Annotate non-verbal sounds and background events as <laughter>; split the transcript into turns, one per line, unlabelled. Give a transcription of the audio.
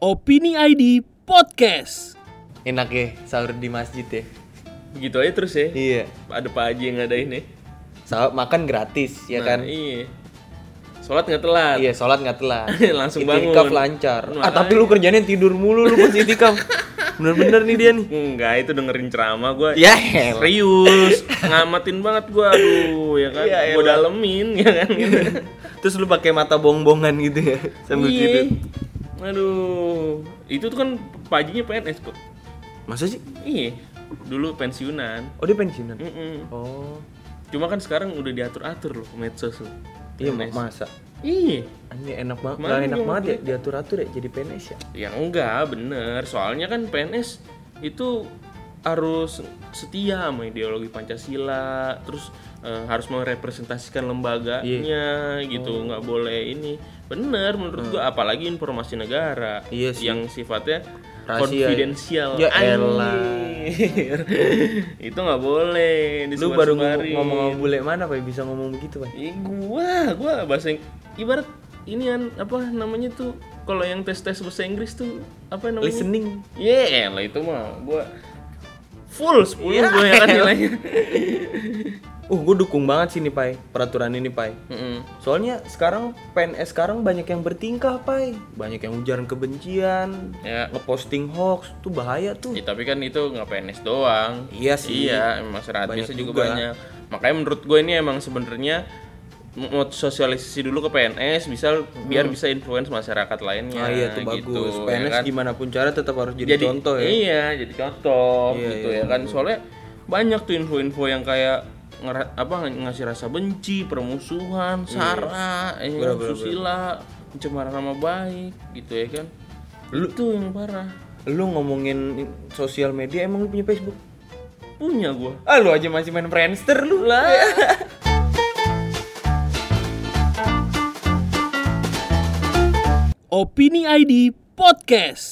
Opini ID Podcast.
Enak ya sahur di masjid ya.
Begitu aja terus ya.
Iya.
Ada Pak Haji yang ngadain ya.
Sahur makan gratis ya
Nah,
kan.
Iya. Sholat nggak telat.
<laughs> Iya, sholat nggak telat.
Langsung bangun.
Itikaf lancar. Ah,
Makanya.
tapi lu kerjanya tidur mulu lu pas itikaf. Bener-bener nih dia nih.
Enggak, itu dengerin ceramah gua
Ya, elah.
Serius, ngamatin banget gua aduh, ya kan.
Ya,
gua
elah.
dalemin ya kan gitu.
Terus lu pakai mata bongbongan gitu ya Iya. sambil
Iya.
tidur.
Aduh, itu tuh kan paginya PNS kok.
Masa sih?
Iya, dulu pensiunan.
Oh, dia pensiunan.
Mm-mm.
Oh.
Cuma kan sekarang udah diatur-atur loh medsos loh.
Iya,
PNS.
masa.
Iya.
Ini enak banget.
Mana
Lah, enak
dia
banget ya diatur-atur ya jadi PNS ya.
Ya enggak, bener. Soalnya kan PNS itu harus setia sama ideologi Pancasila, terus eh, harus merepresentasikan
Iya.
lembaganya
Oh.
gitu, nggak boleh ini. Bener menurut gua apalagi informasi negara
Hmm. Iya sih.
yang sifatnya
Rahasia.
konfidensial.
Ya
Anjir.
elah.
<laughs> itu nggak boleh
Lu baru ngomong
disebar-sebarin.
ngomong sama bule mana, Pak? Bisa ngomong begitu, Pak?
Ih, gua, gua bahasa Ing- ibarat ini an- apa namanya tuh kalau yang tes tes bahasa Inggris tuh apa namanya?
Listening.
Iya lah itu mah gua full 10
Iya.
gua ya kan nilainya.
<laughs> Uh, gue dukung banget sih nih, Pai. Peraturan ini, Pai.
Mm-mm.
Soalnya sekarang PNS sekarang banyak yang bertingkah, Pai. Banyak yang ujaran kebencian,
Ya.
ngeposting hoax, tuh bahaya tuh.
Ya, tapi kan itu nggak PNS doang.
Iya sih.
Iya, masyarakatnya
Banyak
juga,
juga.
banyak. Makanya menurut gue ini emang sebenarnya mau sosialisasi dulu ke PNS bisa biar bisa influence masyarakat lainnya.
Hmm. Ah iya tuh
gitu,
bagus.
ya
PNS
kan?
gimana pun cara tetap harus jadi, contoh ya.
Iya, jadi contoh
Iya,
gitu
iya,
ya kan. Soalnya banyak tuh info-info yang kayak ngera- apa ng- ngasih rasa benci,
Iya.
permusuhan, sara, eh,
Bener, bener,
susila, pencemaran nama baik gitu ya kan. itu yang parah.
Lu ngomongin sosial media emang lu punya Facebook?
Punya gua.
Ah lu aja masih main Friendster lu <laughs> lah.
Opini ID Podcast.